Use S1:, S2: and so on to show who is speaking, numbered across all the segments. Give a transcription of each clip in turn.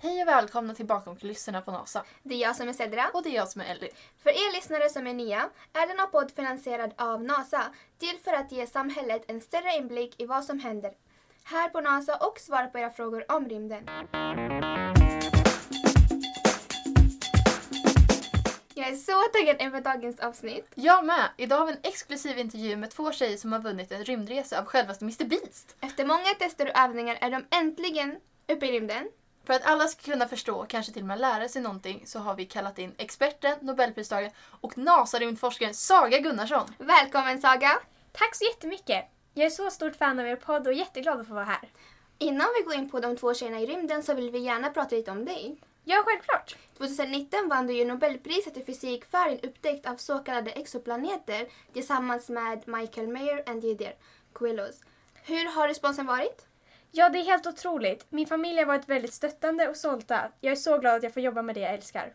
S1: Hej och välkomna till Bakom kulisserna på NASA.
S2: Det är jag som är Sedra.
S1: Och det är jag som är Ellie.
S2: För er lyssnare som är nya är denna podd finansierad av NASA till för att ge samhället en större inblick i vad som händer här på NASA och svara på era frågor om rymden. Jag är så taggad inför dagens avsnitt.
S1: Jag med! Idag har vi en exklusiv intervju med två tjejer som har vunnit en rymdresa av självaste Mr Beast.
S2: Efter många tester och övningar är de äntligen uppe i rymden.
S1: För att alla ska kunna förstå och kanske till och med lära sig någonting så har vi kallat in experten, nobelpristagaren och NASA-rymdforskaren Saga Gunnarsson.
S2: Välkommen Saga!
S3: Tack så jättemycket! Jag är så stort fan av er podd och jätteglad att få vara här.
S2: Innan vi går in på de två tjejerna i rymden så vill vi gärna prata lite om dig.
S3: Ja, självklart!
S2: 2019 vann du ju Nobelpriset i fysik för din upptäckt av så kallade exoplaneter tillsammans med Michael Mayer och Didier Queloz. Hur har responsen varit?
S3: Ja, det är helt otroligt. Min familj har varit väldigt stöttande och sålta. Jag är så glad att jag får jobba med det jag älskar.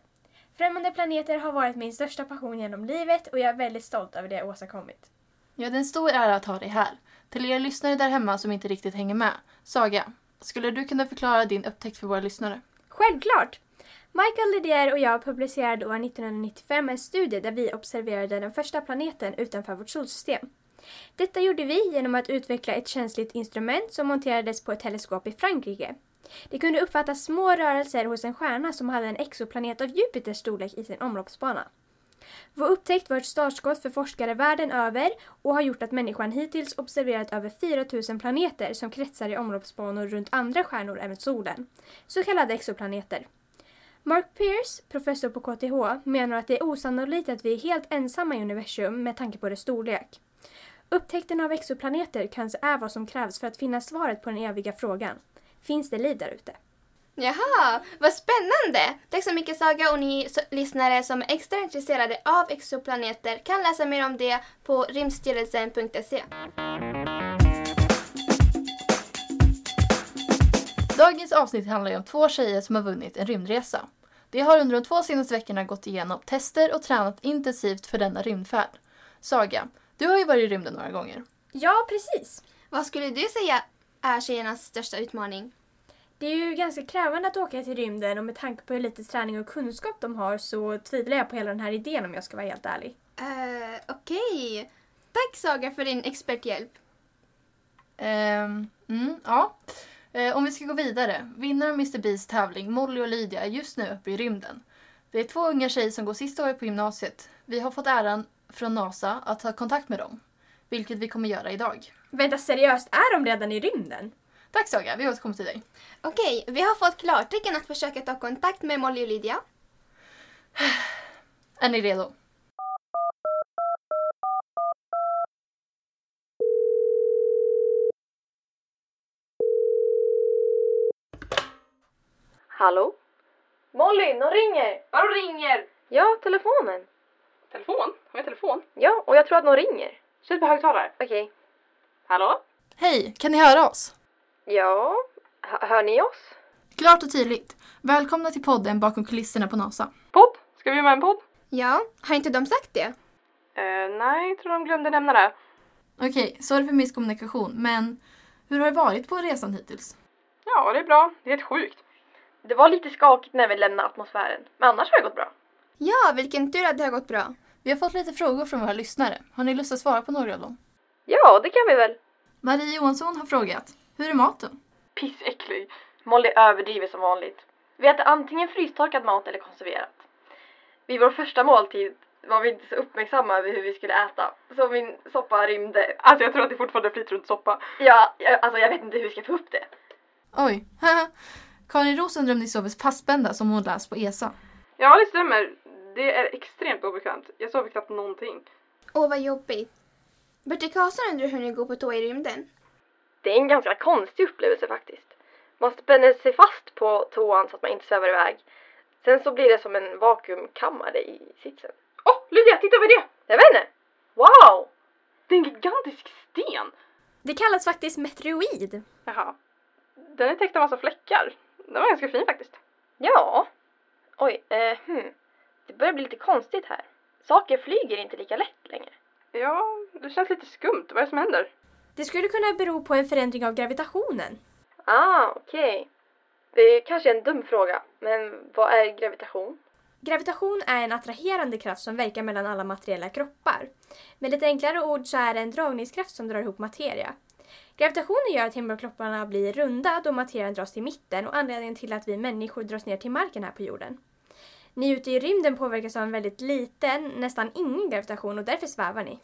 S3: Främmande planeter har varit min största passion genom livet och jag är väldigt stolt över det jag åstadkommit.
S1: Ja, det är en stor ära att ha dig här. Till er lyssnare där hemma som inte riktigt hänger med. Saga, skulle du kunna förklara din upptäckt för våra lyssnare?
S3: Självklart! Michael Lidier och jag publicerade år 1995 en studie där vi observerade den första planeten utanför vårt solsystem. Detta gjorde vi genom att utveckla ett känsligt instrument som monterades på ett teleskop i Frankrike. Det kunde uppfatta små rörelser hos en stjärna som hade en exoplanet av Jupiters storlek i sin omloppsbana. Vår upptäckt var ett startskott för forskare världen över och har gjort att människan hittills observerat över 4000 planeter som kretsar i omloppsbanor runt andra stjärnor än solen, så kallade exoplaneter. Mark Pierce, professor på KTH, menar att det är osannolikt att vi är helt ensamma i universum med tanke på dess storlek. Upptäckten av exoplaneter kanske är vad som krävs för att finna svaret på den eviga frågan. Finns det liv där ute?
S2: Jaha, vad spännande! Tack så mycket Saga och ni s- lyssnare som är extra intresserade av exoplaneter kan läsa mer om det på rymdstyrelsen.se.
S1: Dagens avsnitt handlar ju om två tjejer som har vunnit en rymdresa. De har under de två senaste veckorna gått igenom tester och tränat intensivt för denna rymdfärd. Saga, du har ju varit i rymden några gånger.
S3: Ja, precis!
S2: Vad skulle du säga är tjejernas största utmaning?
S3: Det är ju ganska krävande att åka till rymden och med tanke på hur lite träning och kunskap de har så tvivlar jag på hela den här idén om jag ska vara helt ärlig.
S2: Uh, Okej. Tack Saga för din experthjälp.
S1: Ehm, mm, ja. Eh, om vi ska gå vidare. Vinnaren av Mr Beast tävling, Molly och Lydia, är just nu uppe i rymden. Det är två unga tjejer som går sista året på gymnasiet. Vi har fått äran från NASA att ta kontakt med dem, vilket vi kommer göra idag.
S3: Vänta, seriöst, är de redan i rymden?
S1: Tack Saga, vi återkommer till dig.
S2: Okej, vi har fått klartecken att försöka ta kontakt med Molly och Lydia.
S1: Är ni redo?
S4: Hallå?
S3: Molly, någon ringer!
S4: Vadå ringer?
S3: Ja, telefonen.
S4: Telefon? Har jag telefon?
S3: Ja, och jag tror att någon ringer.
S4: Sätt på högtalare.
S3: Okej.
S4: Hallå?
S1: Hej, kan ni höra oss?
S3: Ja, hör ni oss?
S1: Klart och tydligt. Välkomna till podden Bakom kulisserna på NASA.
S4: Podd? Ska vi göra en podd?
S2: Ja, har inte de sagt det?
S4: Eh, nej, tror de glömde nämna det.
S1: Okej, sorry för misskommunikation, men hur har det varit på resan hittills?
S4: Ja, det är bra. Det är helt sjukt.
S3: Det var lite skakigt när vi lämnade atmosfären, men annars har det gått bra.
S2: Ja, vilken tur att det har gått bra.
S1: Vi har fått lite frågor från våra lyssnare. Har ni lust att svara på några av dem?
S3: Ja, det kan vi väl.
S1: Marie Johansson har frågat. Hur är maten?
S4: Pissäcklig.
S3: Molly överdriver som vanligt. Vi äter antingen frystorkad mat eller konserverat. Vid vår första måltid var vi inte så uppmärksamma över hur vi skulle äta, så min soppa rymde.
S4: Alltså jag tror att det fortfarande är flytrundssoppa.
S3: Ja, jag- alltså jag vet inte hur vi ska få upp det.
S1: Oj, haha. Karin Roos undrar om ni sover fastspända som hon läst på E ESA.
S4: Ja, det stämmer. Det är extremt obekvämt. Jag sover knappt någonting.
S2: Åh, vad jobbigt. Bertil Karlsson undrar hur ni går på toa i rymden.
S3: Det är en ganska konstig upplevelse faktiskt. Man spänner sig fast på toan så att man inte svävar iväg. Sen så blir det som en vakuumkammare i sitsen.
S4: Åh, oh, Lydia! Titta vad det är!
S3: Jag vet inte! Wow!
S4: Det är en gigantisk sten!
S3: Det kallas faktiskt meteoroid.
S4: Jaha. Den är täckt av massa fläckar. Den var ganska fin faktiskt.
S3: Ja. Oj, eh, hmm. Det börjar bli lite konstigt här. Saker flyger inte lika lätt längre.
S4: Ja, det känns lite skumt. Vad är det som händer?
S3: Det skulle kunna bero på en förändring av gravitationen.
S5: Ah, okej. Det är kanske en dum fråga, men vad är gravitation?
S3: Gravitation är en attraherande kraft som verkar mellan alla materiella kroppar. Med lite enklare ord så är det en dragningskraft som drar ihop materia. Gravitationen gör att himlakropparna blir runda då materian dras till mitten och anledningen till att vi människor dras ner till marken här på jorden. Ni ute i rymden påverkas av en väldigt liten, nästan ingen gravitation och därför svävar ni.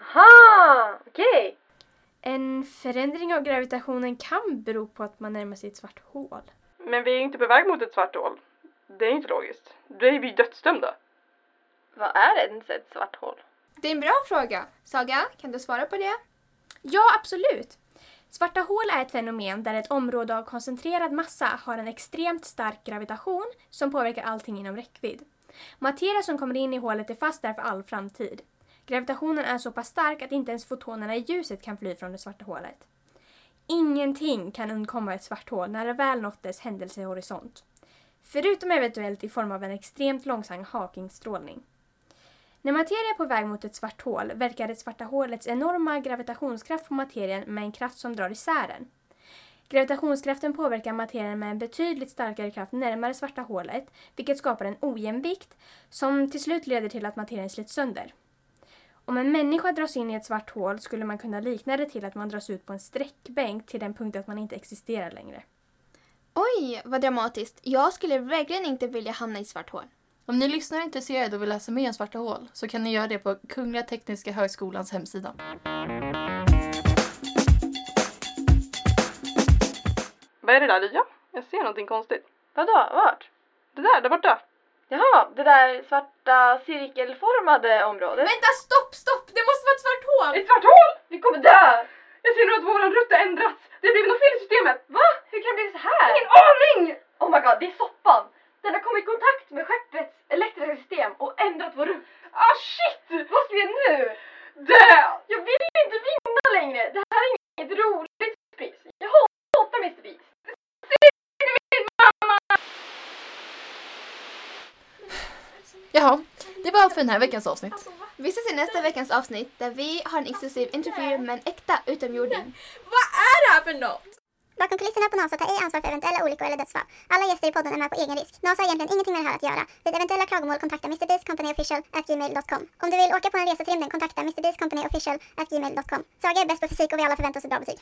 S5: Aha, okej!
S3: En förändring av gravitationen kan bero på att man närmar sig ett svart hål.
S4: Men vi är ju inte på väg mot ett svart hål. Det är ju inte logiskt. Då är vi ju dödsdömda.
S5: Vad är ens ett svart hål?
S2: Det är en bra fråga. Saga, kan du svara på det?
S3: Ja, absolut! Svarta hål är ett fenomen där ett område av koncentrerad massa har en extremt stark gravitation som påverkar allting inom räckvidd. Materia som kommer in i hålet är fast där för all framtid. Gravitationen är så pass stark att inte ens fotonerna i ljuset kan fly från det svarta hålet. Ingenting kan undkomma ett svart hål när det väl nått dess händelsehorisont. Förutom eventuellt i form av en extremt långsam Hawkingstrålning. När materia är på väg mot ett svart hål verkar det svarta hålets enorma gravitationskraft på materien med en kraft som drar isär den. Gravitationskraften påverkar materien med en betydligt starkare kraft närmare svarta hålet, vilket skapar en ojämvikt som till slut leder till att materien slits sönder. Om en människa dras in i ett svart hål skulle man kunna likna det till att man dras ut på en sträckbänk till den punkt att man inte existerar längre.
S2: Oj, vad dramatiskt. Jag skulle verkligen inte vilja hamna i ett svart hål.
S1: Om ni lyssnar är intresserade och vill läsa mer om svarta hål så kan ni göra det på Kungliga Tekniska Högskolans hemsida.
S4: Vad är det där Lia? Jag ser någonting konstigt.
S5: Vadå, vart?
S4: Det där, där borta.
S5: Jaha, det där svarta cirkelformade området.
S3: Vänta, stopp, stopp! Det måste vara ett svart hål!
S4: Ett svart hål!
S5: Vi kommer dö!
S4: Jag ser nu att våran rutt har ändrats. Det har blivit något fel i systemet.
S5: Va? Hur kan det bli så här?
S4: Ingen aning!
S5: Oh my god, det är soppan! Den har kommit i kontakt med skeppets elektriska system och ändrat vår rutt.
S4: Ah shit!
S5: Vad ska vi göra nu?
S4: Dö!
S5: Jag vill inte vinna längre! Det här är inget roligt pris. Jag hatar Mr Beast.
S1: Jaha, det var allt för den här veckans avsnitt.
S2: Vi ses i nästa veckans avsnitt där vi har en exklusiv intervju med en äkta utomjording.
S3: Vad är det här för något?
S6: Bakom kulisserna på NASA tar ej ansvar för eventuella olyckor eller dödsfall. Alla gäster i podden är med på egen risk. NASA har egentligen ingenting med det här att göra. Vid eventuella klagomål kontakta mrbeastcompanyofficial.gmail.com. Om du vill åka på en resa till rymden kontakta mrbeastcompanyofficial.gmail.com. Saga är bäst på fysik och vi alla förväntar oss ett bra betyg.